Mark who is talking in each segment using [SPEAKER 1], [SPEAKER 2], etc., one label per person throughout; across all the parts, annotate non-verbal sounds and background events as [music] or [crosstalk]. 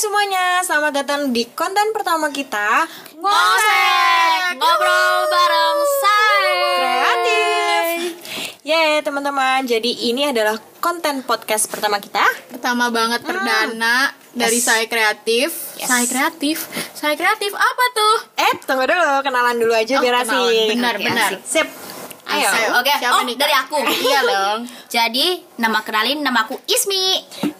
[SPEAKER 1] semuanya, selamat datang di konten pertama kita
[SPEAKER 2] Ngosek Ngobrol bareng Sai
[SPEAKER 1] Kreatif Yeay teman-teman, jadi ini adalah konten podcast pertama kita
[SPEAKER 2] Pertama banget perdana dari
[SPEAKER 1] Hmm. Yes.
[SPEAKER 2] Sai Kreatif
[SPEAKER 1] Yes.
[SPEAKER 2] Sai Kreatif Sai Kreatif apa tuh?
[SPEAKER 1] Eh tunggu dulu, kenalan dulu aja
[SPEAKER 2] Oh,
[SPEAKER 1] biar
[SPEAKER 2] kenalan.
[SPEAKER 1] asik
[SPEAKER 2] Benar,
[SPEAKER 1] Oke,
[SPEAKER 2] benar.
[SPEAKER 1] asik. Sip, ayo
[SPEAKER 2] Oke,
[SPEAKER 3] Siapa
[SPEAKER 2] oh,
[SPEAKER 3] nih, Kak?
[SPEAKER 2] dari
[SPEAKER 3] [laughs]
[SPEAKER 2] aku
[SPEAKER 3] Iya dong.
[SPEAKER 2] Jadi, nama kenalin nama aku Ismi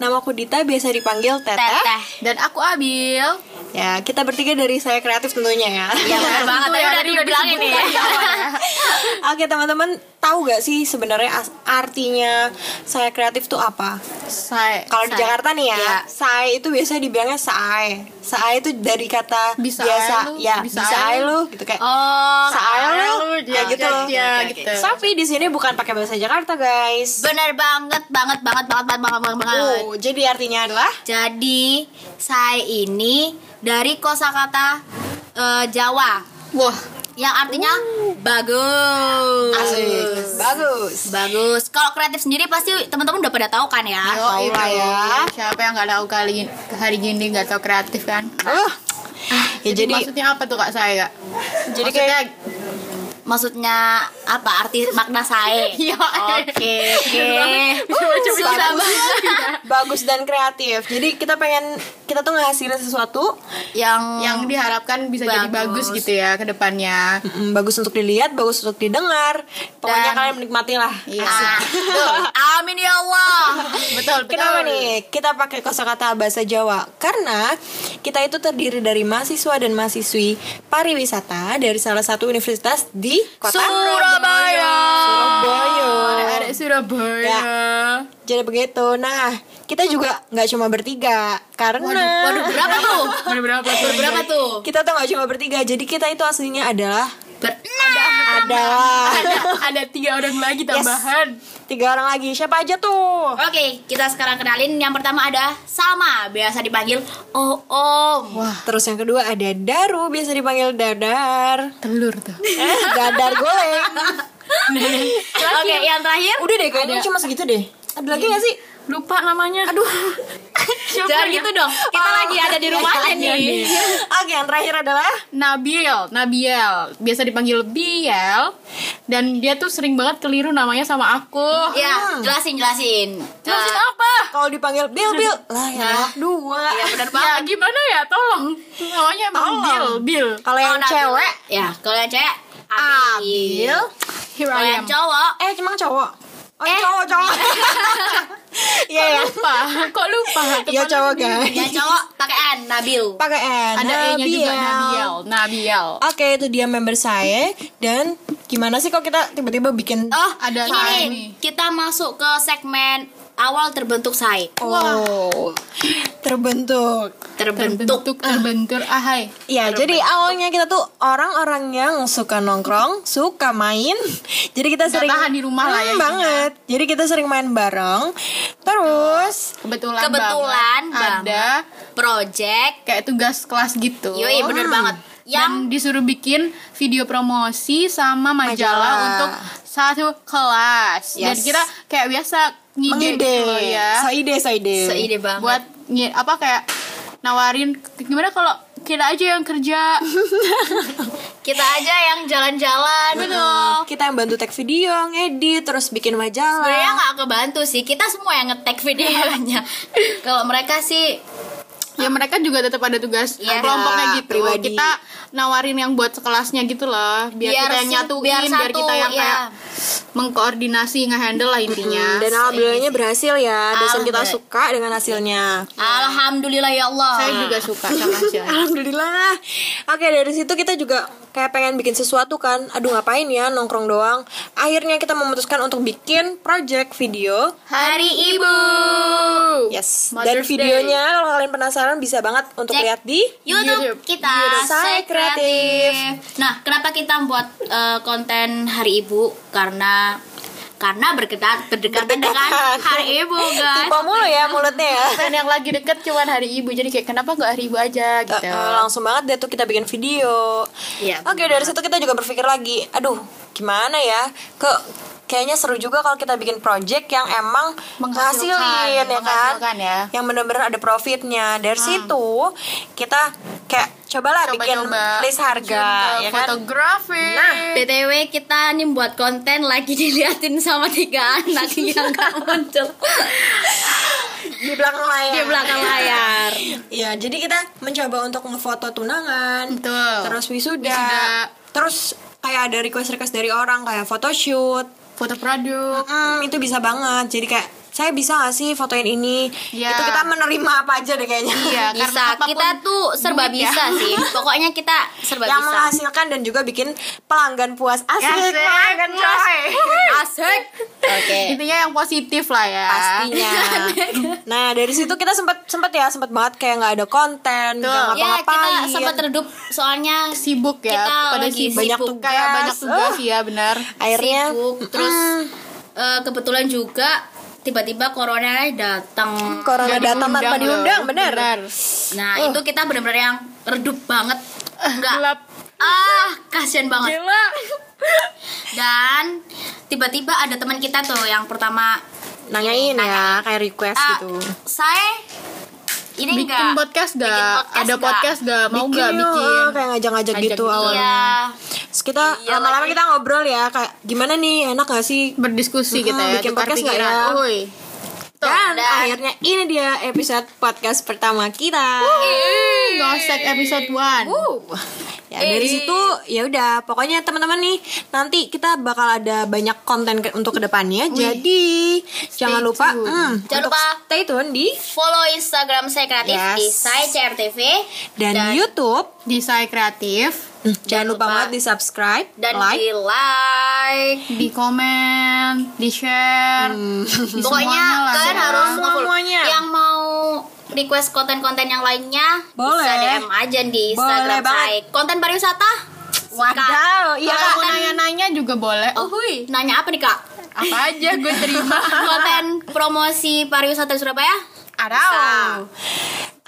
[SPEAKER 1] Nama aku Dita, biasa dipanggil Teteh
[SPEAKER 2] Teteh
[SPEAKER 3] Dan aku Abil.
[SPEAKER 1] Ya, kita bertiga dari saya kreatif tentunya ya
[SPEAKER 2] Iya bener banget,
[SPEAKER 3] Itu
[SPEAKER 2] tadi
[SPEAKER 3] ya,
[SPEAKER 2] udah
[SPEAKER 3] tadi udah
[SPEAKER 2] dibilangin nih
[SPEAKER 3] disebutkan di awal ya.
[SPEAKER 1] [laughs] Oke teman-teman, tahu gak sih sebenarnya as- artinya saya kreatif tuh apa?
[SPEAKER 3] Sai.
[SPEAKER 1] Kalau di
[SPEAKER 3] Sai.
[SPEAKER 1] Jakarta nih ya,
[SPEAKER 3] Iya.
[SPEAKER 1] sai itu biasanya dibilangnya saai. Saai itu dari kata
[SPEAKER 3] Bisa
[SPEAKER 1] biasa,
[SPEAKER 3] ae lu,
[SPEAKER 1] ya bisa,
[SPEAKER 3] bisa
[SPEAKER 1] ae
[SPEAKER 3] ae
[SPEAKER 1] lu gitu kayak
[SPEAKER 2] Oh,
[SPEAKER 1] saai
[SPEAKER 3] ae
[SPEAKER 1] lu,
[SPEAKER 3] lu,
[SPEAKER 1] ya
[SPEAKER 3] ya,
[SPEAKER 1] gitu.
[SPEAKER 3] ya,
[SPEAKER 1] loh.
[SPEAKER 3] ya,
[SPEAKER 1] Oke, oke.
[SPEAKER 3] gitu.
[SPEAKER 1] Tapi di sini bukan pakai bahasa Jakarta guys.
[SPEAKER 2] bener banget, banget, banget, banget, banget, banget, banget,
[SPEAKER 3] Uh.
[SPEAKER 2] banget.
[SPEAKER 1] Oh, jadi artinya adalah
[SPEAKER 2] Jadi, Sai ini dari kosakata eh, Jawa
[SPEAKER 3] Wah, Uh.
[SPEAKER 2] yang artinya bagus.
[SPEAKER 1] asik, bagus.
[SPEAKER 2] Bagus. Kalau kreatif sendiri pasti teman-teman udah pada tahu kan ya.
[SPEAKER 3] yo iya.
[SPEAKER 1] tahu
[SPEAKER 3] itu
[SPEAKER 1] lah ya.
[SPEAKER 3] Siapa yang nggak tahu kali hari gini nggak tahu kreatif kan?
[SPEAKER 1] Uh. Ya jadi
[SPEAKER 3] maksudnya apa tuh Kak Sai, Kak?
[SPEAKER 1] jadi kayak
[SPEAKER 2] Maksudnya apa arti makna
[SPEAKER 3] [laughs]
[SPEAKER 2] sae?
[SPEAKER 3] [laughs] Iya.
[SPEAKER 2] Oke, oke.
[SPEAKER 1] Susah [laughs] bagus dan kreatif. Jadi kita pengen kita tuh ngehasilin sesuatu
[SPEAKER 2] Yang
[SPEAKER 3] [laughs] Yang diharapkan bisa jadi bagus
[SPEAKER 2] Bagus.
[SPEAKER 3] gitu ya ke depannya.
[SPEAKER 1] mm, bagus untuk dilihat, bagus untuk didengar. Pokoknya
[SPEAKER 2] Dan-
[SPEAKER 1] kalian menikmati lah.
[SPEAKER 3] Iya.
[SPEAKER 2] Ah, tuh. Amin ya Allah.
[SPEAKER 3] [laughs] Betul, betul.
[SPEAKER 1] Kenapa nih kita pakai kosakata bahasa Jawa? Karena kita itu terdiri dari mahasiswa dan mahasiswi pariwisata dari salah satu universitas di kota
[SPEAKER 2] Surabaya.
[SPEAKER 1] Surabaya.
[SPEAKER 3] Ada Surabaya.
[SPEAKER 1] Ya. Jadi begitu. Nah, kita juga nggak cuma bertiga karena
[SPEAKER 2] Waduh, berapa tuh?
[SPEAKER 3] Berapa tuh?
[SPEAKER 2] Berapa tuh?
[SPEAKER 1] kita tuh nggak cuma bertiga. Jadi kita itu aslinya adalah
[SPEAKER 2] Berenam.
[SPEAKER 1] adalah
[SPEAKER 3] ada, ada tiga orang lagi tambahan.
[SPEAKER 1] tiga orang lagi. Siapa aja tuh?
[SPEAKER 2] Oke, kita sekarang kenalin yang pertama ada Sama, biasa dipanggil Oh Om.
[SPEAKER 1] Wah. Terus yang kedua ada Daru, biasa dipanggil
[SPEAKER 2] [laughs]
[SPEAKER 1] Dadar.
[SPEAKER 3] Telur
[SPEAKER 1] [laughs]
[SPEAKER 3] tuh.
[SPEAKER 1] Eh, Dadar goleng.
[SPEAKER 2] Oke, yang terakhir
[SPEAKER 1] Udah deh, Eh, kayaknya cuma segitu deh. Ada lagi gak sih?
[SPEAKER 3] Lupa namanya. Aduh.
[SPEAKER 2] Jangan gitu dong. Kita
[SPEAKER 1] Oh.
[SPEAKER 2] lagi ada di rumahnya nih.
[SPEAKER 1] Iya, Oke, yang terakhir adalah
[SPEAKER 3] Nabil, Nabiel, biasa dipanggil Biel, dan dia tuh sering banget keliru namanya sama aku.
[SPEAKER 2] Ya, jelasin jelasin.
[SPEAKER 3] Terus
[SPEAKER 2] Eh,
[SPEAKER 3] apa?
[SPEAKER 1] kalau dipanggil Bill Bill lah ya dua.
[SPEAKER 2] ya benar
[SPEAKER 3] Ya
[SPEAKER 2] banget.
[SPEAKER 3] gimana ya? Tolong. Namanya emang
[SPEAKER 1] Tolong.
[SPEAKER 3] Bill, Bill.
[SPEAKER 1] Kalau yang
[SPEAKER 2] Kalau
[SPEAKER 1] cewek
[SPEAKER 2] Ya, kalau yang cewek Abil.
[SPEAKER 3] Here
[SPEAKER 2] Kalau
[SPEAKER 3] I
[SPEAKER 2] yang
[SPEAKER 3] am.
[SPEAKER 2] cowok
[SPEAKER 1] eh cuma cowok. Oh,
[SPEAKER 2] Eh.
[SPEAKER 1] cowok cowok. Iya ya.
[SPEAKER 3] Lupa, [laughs] kok lupa?
[SPEAKER 1] Iya cowok guys.
[SPEAKER 2] yang cowok pakai N, Nabil.
[SPEAKER 1] Pakai N.
[SPEAKER 3] Ada E-nya juga
[SPEAKER 1] Nabiel.
[SPEAKER 3] Nabiel, Nabiel.
[SPEAKER 1] Oke, itu dia member saya dan gimana sih kok kita tiba-tiba bikin
[SPEAKER 2] Oh,
[SPEAKER 3] Ada
[SPEAKER 2] ini
[SPEAKER 3] Sai
[SPEAKER 2] nih.
[SPEAKER 3] nih.
[SPEAKER 2] Kita masuk ke segmen awal terbentuk Sai.
[SPEAKER 1] oh terbentuk.
[SPEAKER 2] Terbentuk.
[SPEAKER 3] Terbentuk, terbentur, Ah, ahai.
[SPEAKER 1] Ya, jadi awalnya kita tuh orang-orang yang suka nongkrong, suka main. [laughs] Jadi kita
[SPEAKER 3] Nggak
[SPEAKER 1] sering
[SPEAKER 3] tahan di rumah lah ya,
[SPEAKER 1] Hmm,
[SPEAKER 3] isinya.
[SPEAKER 1] banget. Jadi kita sering main bareng. Terus
[SPEAKER 3] Kebetulan,
[SPEAKER 2] Kebetulan
[SPEAKER 3] banget ada
[SPEAKER 2] banget. Project
[SPEAKER 3] kayak tugas kelas gitu.
[SPEAKER 2] Yoi, bener banget. Yang
[SPEAKER 3] yang disuruh bikin video promosi sama majalah,
[SPEAKER 1] Majalah.
[SPEAKER 3] untuk satu kelas. Dan
[SPEAKER 1] Yes.
[SPEAKER 3] kita kayak biasa ngide
[SPEAKER 1] mengide,
[SPEAKER 3] gitu loh ya.
[SPEAKER 1] seide, seide.
[SPEAKER 2] seide banget.
[SPEAKER 3] Buat ngi- apa kayak nawarin gimana kalau kita aja yang kerja.
[SPEAKER 2] [laughs] kita aja yang jalan-jalan. Betul.
[SPEAKER 1] Kita yang bantu tag video, ngedit, terus bikin
[SPEAKER 2] Sebenarnya
[SPEAKER 1] majalah.
[SPEAKER 2] nggak kebantu sih. Kita semua yang ngetek [laughs] videonya. Kalau mereka sih
[SPEAKER 3] ya mereka juga tetap ada tugas
[SPEAKER 2] Iya.
[SPEAKER 3] kelompoknya gitu.
[SPEAKER 1] Pribadi.
[SPEAKER 3] Kita nawarin yang buat sekelasnya gitu loh, biar,
[SPEAKER 2] Biar
[SPEAKER 3] kita yang
[SPEAKER 2] se-
[SPEAKER 3] nyatuin,
[SPEAKER 2] biar
[SPEAKER 3] biar,
[SPEAKER 2] satu,
[SPEAKER 3] kita yang
[SPEAKER 2] iya.
[SPEAKER 3] kayak mengkoordinasi, ngehandle lah intinya.
[SPEAKER 1] Dan alhamdulillahnya berhasil ya. Dosen kita
[SPEAKER 2] Alhamdulillah.
[SPEAKER 1] suka dengan hasilnya.
[SPEAKER 2] alhamdulillah ya Allah.
[SPEAKER 3] Saya juga suka
[SPEAKER 2] [laughs]
[SPEAKER 3] sama hasilnya.
[SPEAKER 1] Alhamdulillah. Oke, dari situ kita juga kayak pengen bikin sesuatu kan. Aduh, ngapain ya nongkrong doang. Akhirnya kita memutuskan untuk bikin project video.
[SPEAKER 2] Hari Ibu.
[SPEAKER 1] Yes. Dan
[SPEAKER 3] Mother's Day.
[SPEAKER 1] videonya kalau kalian penasaran bisa banget untuk
[SPEAKER 2] Cek.
[SPEAKER 1] lihat di
[SPEAKER 2] YouTube
[SPEAKER 3] YouTube.
[SPEAKER 2] kita
[SPEAKER 1] YouTube. Saya
[SPEAKER 2] Saya
[SPEAKER 1] Kreatif.
[SPEAKER 2] kreatif. Nah, kenapa kita buat eh, konten Hari Ibu? Karena karena berdekat berdekatan
[SPEAKER 1] Berdekatan.
[SPEAKER 2] dengan Hari Ibu,
[SPEAKER 3] Oh,
[SPEAKER 1] [laughs]
[SPEAKER 2] guys. [laughs]
[SPEAKER 1] Tipe mulu ya mulutnya ya.
[SPEAKER 3] Dan yang lagi deket cuman hari ibu Jadi kayak kenapa gak hari ibu aja gitu
[SPEAKER 1] Eh, eh, langsung banget deh tuh kita bikin video.
[SPEAKER 2] Iya,
[SPEAKER 1] Oke, dari situ kita juga berpikir lagi, aduh, gimana ya? Ke kayaknya seru juga kalau kita bikin project yang emang
[SPEAKER 3] Menghasilkan,
[SPEAKER 1] menghasilin ya kan
[SPEAKER 3] menghasilkan ya. Hmm.
[SPEAKER 1] yang bener-bener ada profitnya dari situ kita kayak cobalah bikin
[SPEAKER 3] Coba-coba.
[SPEAKER 1] list harga
[SPEAKER 3] Mungkin,
[SPEAKER 1] ya
[SPEAKER 3] uh,
[SPEAKER 1] kan
[SPEAKER 3] Fotografi.
[SPEAKER 1] Nah,
[SPEAKER 2] BTW kita nih buat konten lagi diliatin sama tiga anak yang gak muncul
[SPEAKER 1] di belakang layar
[SPEAKER 2] di belakang
[SPEAKER 1] [laughs]
[SPEAKER 2] layar.
[SPEAKER 1] ya jadi kita mencoba untuk ngefoto tunangan
[SPEAKER 3] Betul.
[SPEAKER 1] terus wisuda,
[SPEAKER 3] Wisuda.
[SPEAKER 1] terus kayak ada request request dari orang kayak photoshoot
[SPEAKER 3] foto produk.
[SPEAKER 1] Hmm, itu bisa banget jadi kayak saya bisa gak sih fotoin ini
[SPEAKER 3] Iya.
[SPEAKER 1] itu kita menerima apa aja deh kayaknya [laughs]
[SPEAKER 3] Iya, karena
[SPEAKER 2] Bisa,
[SPEAKER 3] apapun
[SPEAKER 2] kita tuh serba
[SPEAKER 3] duit ya.
[SPEAKER 2] bisa
[SPEAKER 3] [laughs]
[SPEAKER 2] sih. Pokoknya kita serba
[SPEAKER 1] yang
[SPEAKER 2] bisa.
[SPEAKER 1] menghasilkan dan juga bikin pelanggan puas asik,
[SPEAKER 3] Asik,
[SPEAKER 1] pelanggan
[SPEAKER 3] puas.
[SPEAKER 1] coy
[SPEAKER 2] Asik. Oke.
[SPEAKER 3] Intinya yang positif lah ya. [laughs]
[SPEAKER 1] pastinya nah dari situ kita sempat sempat ya sempat banget kayak nggak ada konten
[SPEAKER 3] Tuh.
[SPEAKER 1] nggak
[SPEAKER 2] Ya, kita
[SPEAKER 1] ngapa-ngapain
[SPEAKER 2] sempat
[SPEAKER 3] iya.
[SPEAKER 2] redup soalnya
[SPEAKER 3] Sibuk ya.
[SPEAKER 2] Kita
[SPEAKER 3] pada
[SPEAKER 2] lagi
[SPEAKER 3] sibuk.
[SPEAKER 1] banyak
[SPEAKER 2] sibuk.
[SPEAKER 1] tugas
[SPEAKER 3] Kayak banyak tugas
[SPEAKER 1] Uh,
[SPEAKER 3] ya benar.
[SPEAKER 1] akhirnya
[SPEAKER 2] sibuk terus
[SPEAKER 3] Hmm.
[SPEAKER 2] eh, kebetulan juga tiba-tiba corona datang
[SPEAKER 1] corona
[SPEAKER 3] Nggak
[SPEAKER 1] datang tanpa
[SPEAKER 3] loh.
[SPEAKER 1] diundang bener
[SPEAKER 2] nah
[SPEAKER 3] Uh.
[SPEAKER 2] itu kita benar-benar yang redup banget enggak
[SPEAKER 3] Gelap.
[SPEAKER 2] ah kasihan
[SPEAKER 3] Eh,
[SPEAKER 2] banget
[SPEAKER 3] Gila.
[SPEAKER 2] dan tiba-tiba ada teman kita tuh yang pertama
[SPEAKER 1] nanyain ya kayak request
[SPEAKER 2] "Ah,
[SPEAKER 1] gitu
[SPEAKER 2] saya ini
[SPEAKER 3] Bikin
[SPEAKER 2] enggak
[SPEAKER 3] podcast dah.
[SPEAKER 2] Bikin podcast
[SPEAKER 3] Ada
[SPEAKER 2] nggak?
[SPEAKER 3] podcast dah. Mau Oh, nggak
[SPEAKER 1] yuk,
[SPEAKER 3] bikin?
[SPEAKER 1] Iya, kayak ngajak-ngajak
[SPEAKER 3] Ngajak
[SPEAKER 1] gitu
[SPEAKER 3] gitu.
[SPEAKER 1] awalnya
[SPEAKER 2] iya
[SPEAKER 1] Terus kita lama-lama kita ngobrol ya kayak gimana nih enak gak sih
[SPEAKER 3] Berdiskusi kita
[SPEAKER 1] Mm-mm,
[SPEAKER 3] ya.
[SPEAKER 1] bikin
[SPEAKER 3] tukar
[SPEAKER 1] podcast nggak
[SPEAKER 3] pikiran.
[SPEAKER 1] ya?
[SPEAKER 3] Uy. Tuh,
[SPEAKER 1] dan,
[SPEAKER 2] dan-
[SPEAKER 1] akhirnya ini dia episode podcast pertama kita.
[SPEAKER 3] Gosek episode 1
[SPEAKER 1] Ya dari situ ya udah pokoknya teman-teman nih nanti kita bakal ada banyak konten ke- untuk kedepannya. Jadi jangan lupa
[SPEAKER 3] tune.
[SPEAKER 1] mm,
[SPEAKER 2] Jangan
[SPEAKER 1] untuk
[SPEAKER 2] lupa.
[SPEAKER 1] stay tune di
[SPEAKER 2] follow instagram saya kreatif
[SPEAKER 1] Yes.
[SPEAKER 2] di saya crtv
[SPEAKER 1] dan, YouTube.
[SPEAKER 3] Desain kreatif.
[SPEAKER 1] Mm, jangan lupa
[SPEAKER 2] lupa.
[SPEAKER 1] banget di subscribe,
[SPEAKER 2] dan
[SPEAKER 1] like. [laughs]
[SPEAKER 2] di like
[SPEAKER 3] Di komen, di share. di
[SPEAKER 2] Pokoknya
[SPEAKER 3] semuanya lah, ya.
[SPEAKER 2] kalian harus
[SPEAKER 1] Semua-
[SPEAKER 2] nge-follow.
[SPEAKER 1] semuanya.
[SPEAKER 2] Yang mau request konten-konten yang lainnya bisa
[SPEAKER 1] Boleh.
[SPEAKER 2] DM aja di Instagram
[SPEAKER 1] Boleh banget.
[SPEAKER 2] saya. Konten pariwisata? Suka.
[SPEAKER 1] Wadaw, iya
[SPEAKER 3] Kalau mau
[SPEAKER 1] kan?
[SPEAKER 3] nanya-nanya juga boleh.
[SPEAKER 2] Oh, Nanya apa nih
[SPEAKER 1] [laughs]
[SPEAKER 2] kak?
[SPEAKER 3] Apa aja gue terima.
[SPEAKER 2] konten promosi pariwisata Surabaya?
[SPEAKER 1] Tahu.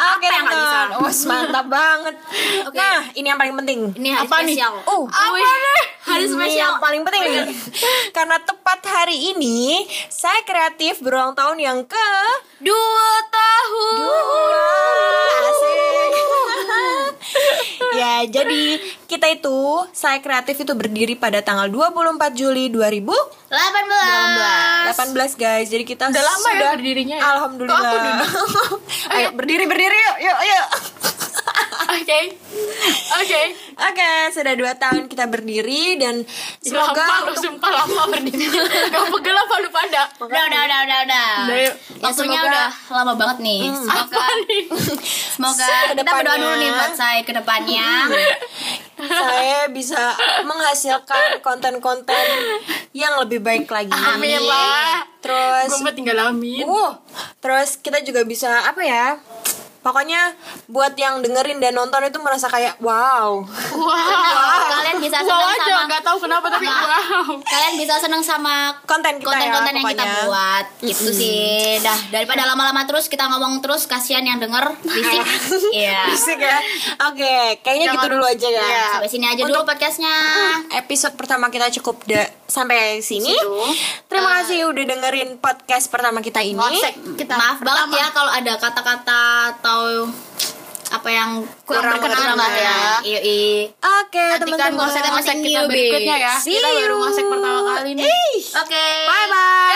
[SPEAKER 1] Oke,
[SPEAKER 2] yang nggak bisa?
[SPEAKER 1] nonton. [laughs] Wes, mantap banget.
[SPEAKER 2] Oke.
[SPEAKER 1] Nah, ini yang paling penting.
[SPEAKER 2] Ini hari
[SPEAKER 3] Apa nih?
[SPEAKER 2] spesial.
[SPEAKER 1] Oh,
[SPEAKER 2] Apa nih? Hari
[SPEAKER 1] Ini
[SPEAKER 2] spesial.
[SPEAKER 1] yang paling penting nih. [laughs] Karena tepat hari ini saya kreatif berulang tahun yang ke
[SPEAKER 2] Dua tahun.
[SPEAKER 1] Asik.
[SPEAKER 2] [laughs]
[SPEAKER 1] ya, jadi kita itu saya kreatif itu berdiri pada tanggal 24 Juli 2018
[SPEAKER 2] 18.
[SPEAKER 1] guys. Jadi kita
[SPEAKER 3] Udah lama ya
[SPEAKER 1] sudah
[SPEAKER 3] berdirinya ya?
[SPEAKER 1] Alhamdulillah.
[SPEAKER 3] Kok aku
[SPEAKER 1] [laughs] Ayo berdiri berdiri yuk yuk yuk. [laughs]
[SPEAKER 3] Oke. Oke.
[SPEAKER 1] Oke, sudah dua tahun kita berdiri dan
[SPEAKER 3] Lama
[SPEAKER 1] semoga
[SPEAKER 3] lu sumpah lama berdiri. Gak pegel apa lu panda?
[SPEAKER 2] Udah, udah, udah, udah, udah.
[SPEAKER 3] Udah, yuk.
[SPEAKER 2] Waktunya
[SPEAKER 1] semoga-
[SPEAKER 2] udah lama banget nih. Semoga
[SPEAKER 3] Apa nih?
[SPEAKER 2] semoga kita
[SPEAKER 1] Kedepannya.
[SPEAKER 2] berdoa dulu nih buat saya ke depannya.
[SPEAKER 1] saya bisa menghasilkan konten-konten yang lebih baik lagi.
[SPEAKER 3] Amin lah.
[SPEAKER 1] Terus
[SPEAKER 3] Gue mau tinggal amin.
[SPEAKER 1] Wuh, terus kita juga bisa apa ya? Pokoknya buat yang dengerin dan nonton itu merasa kayak wow.
[SPEAKER 3] Wow.
[SPEAKER 2] Kalian bisa
[SPEAKER 3] Wow
[SPEAKER 2] senang
[SPEAKER 3] aja
[SPEAKER 2] sama
[SPEAKER 3] nggak tahu kenapa tapi wow.
[SPEAKER 2] kalian bisa seneng sama
[SPEAKER 1] Konten kita ya,
[SPEAKER 2] konten-konten yang kita
[SPEAKER 1] pokoknya.
[SPEAKER 2] buat gitu sih dah daripada lama-lama terus kita ngomong terus kasihan yang denger berisik iya
[SPEAKER 1] Fisik ya. Oke, kayaknya
[SPEAKER 3] Jangan-
[SPEAKER 1] gitu dulu aja ya.
[SPEAKER 3] Iya.
[SPEAKER 2] sampai sini aja dulu podcastnya
[SPEAKER 1] Hmm. Episode pertama kita cukup da- sampai sini.
[SPEAKER 2] Situ.
[SPEAKER 1] Terima kasih udah dengerin podcast pertama kita ini.
[SPEAKER 3] Ngosek kita.
[SPEAKER 2] maaf banget ya kalau ada kata-kata atau apa yang
[SPEAKER 1] Kurang
[SPEAKER 2] berkenan
[SPEAKER 1] berkenan
[SPEAKER 2] ya iya iya.
[SPEAKER 1] Oke,
[SPEAKER 3] Nantikan
[SPEAKER 1] teman-teman.
[SPEAKER 3] ngosek-ngosek
[SPEAKER 2] Thank
[SPEAKER 3] kita
[SPEAKER 2] you,
[SPEAKER 3] berikutnya ya.
[SPEAKER 1] See
[SPEAKER 3] Kita baru
[SPEAKER 1] you.
[SPEAKER 3] ngosek pertama kali nih.
[SPEAKER 1] Ih.
[SPEAKER 2] oke
[SPEAKER 1] Bye bye.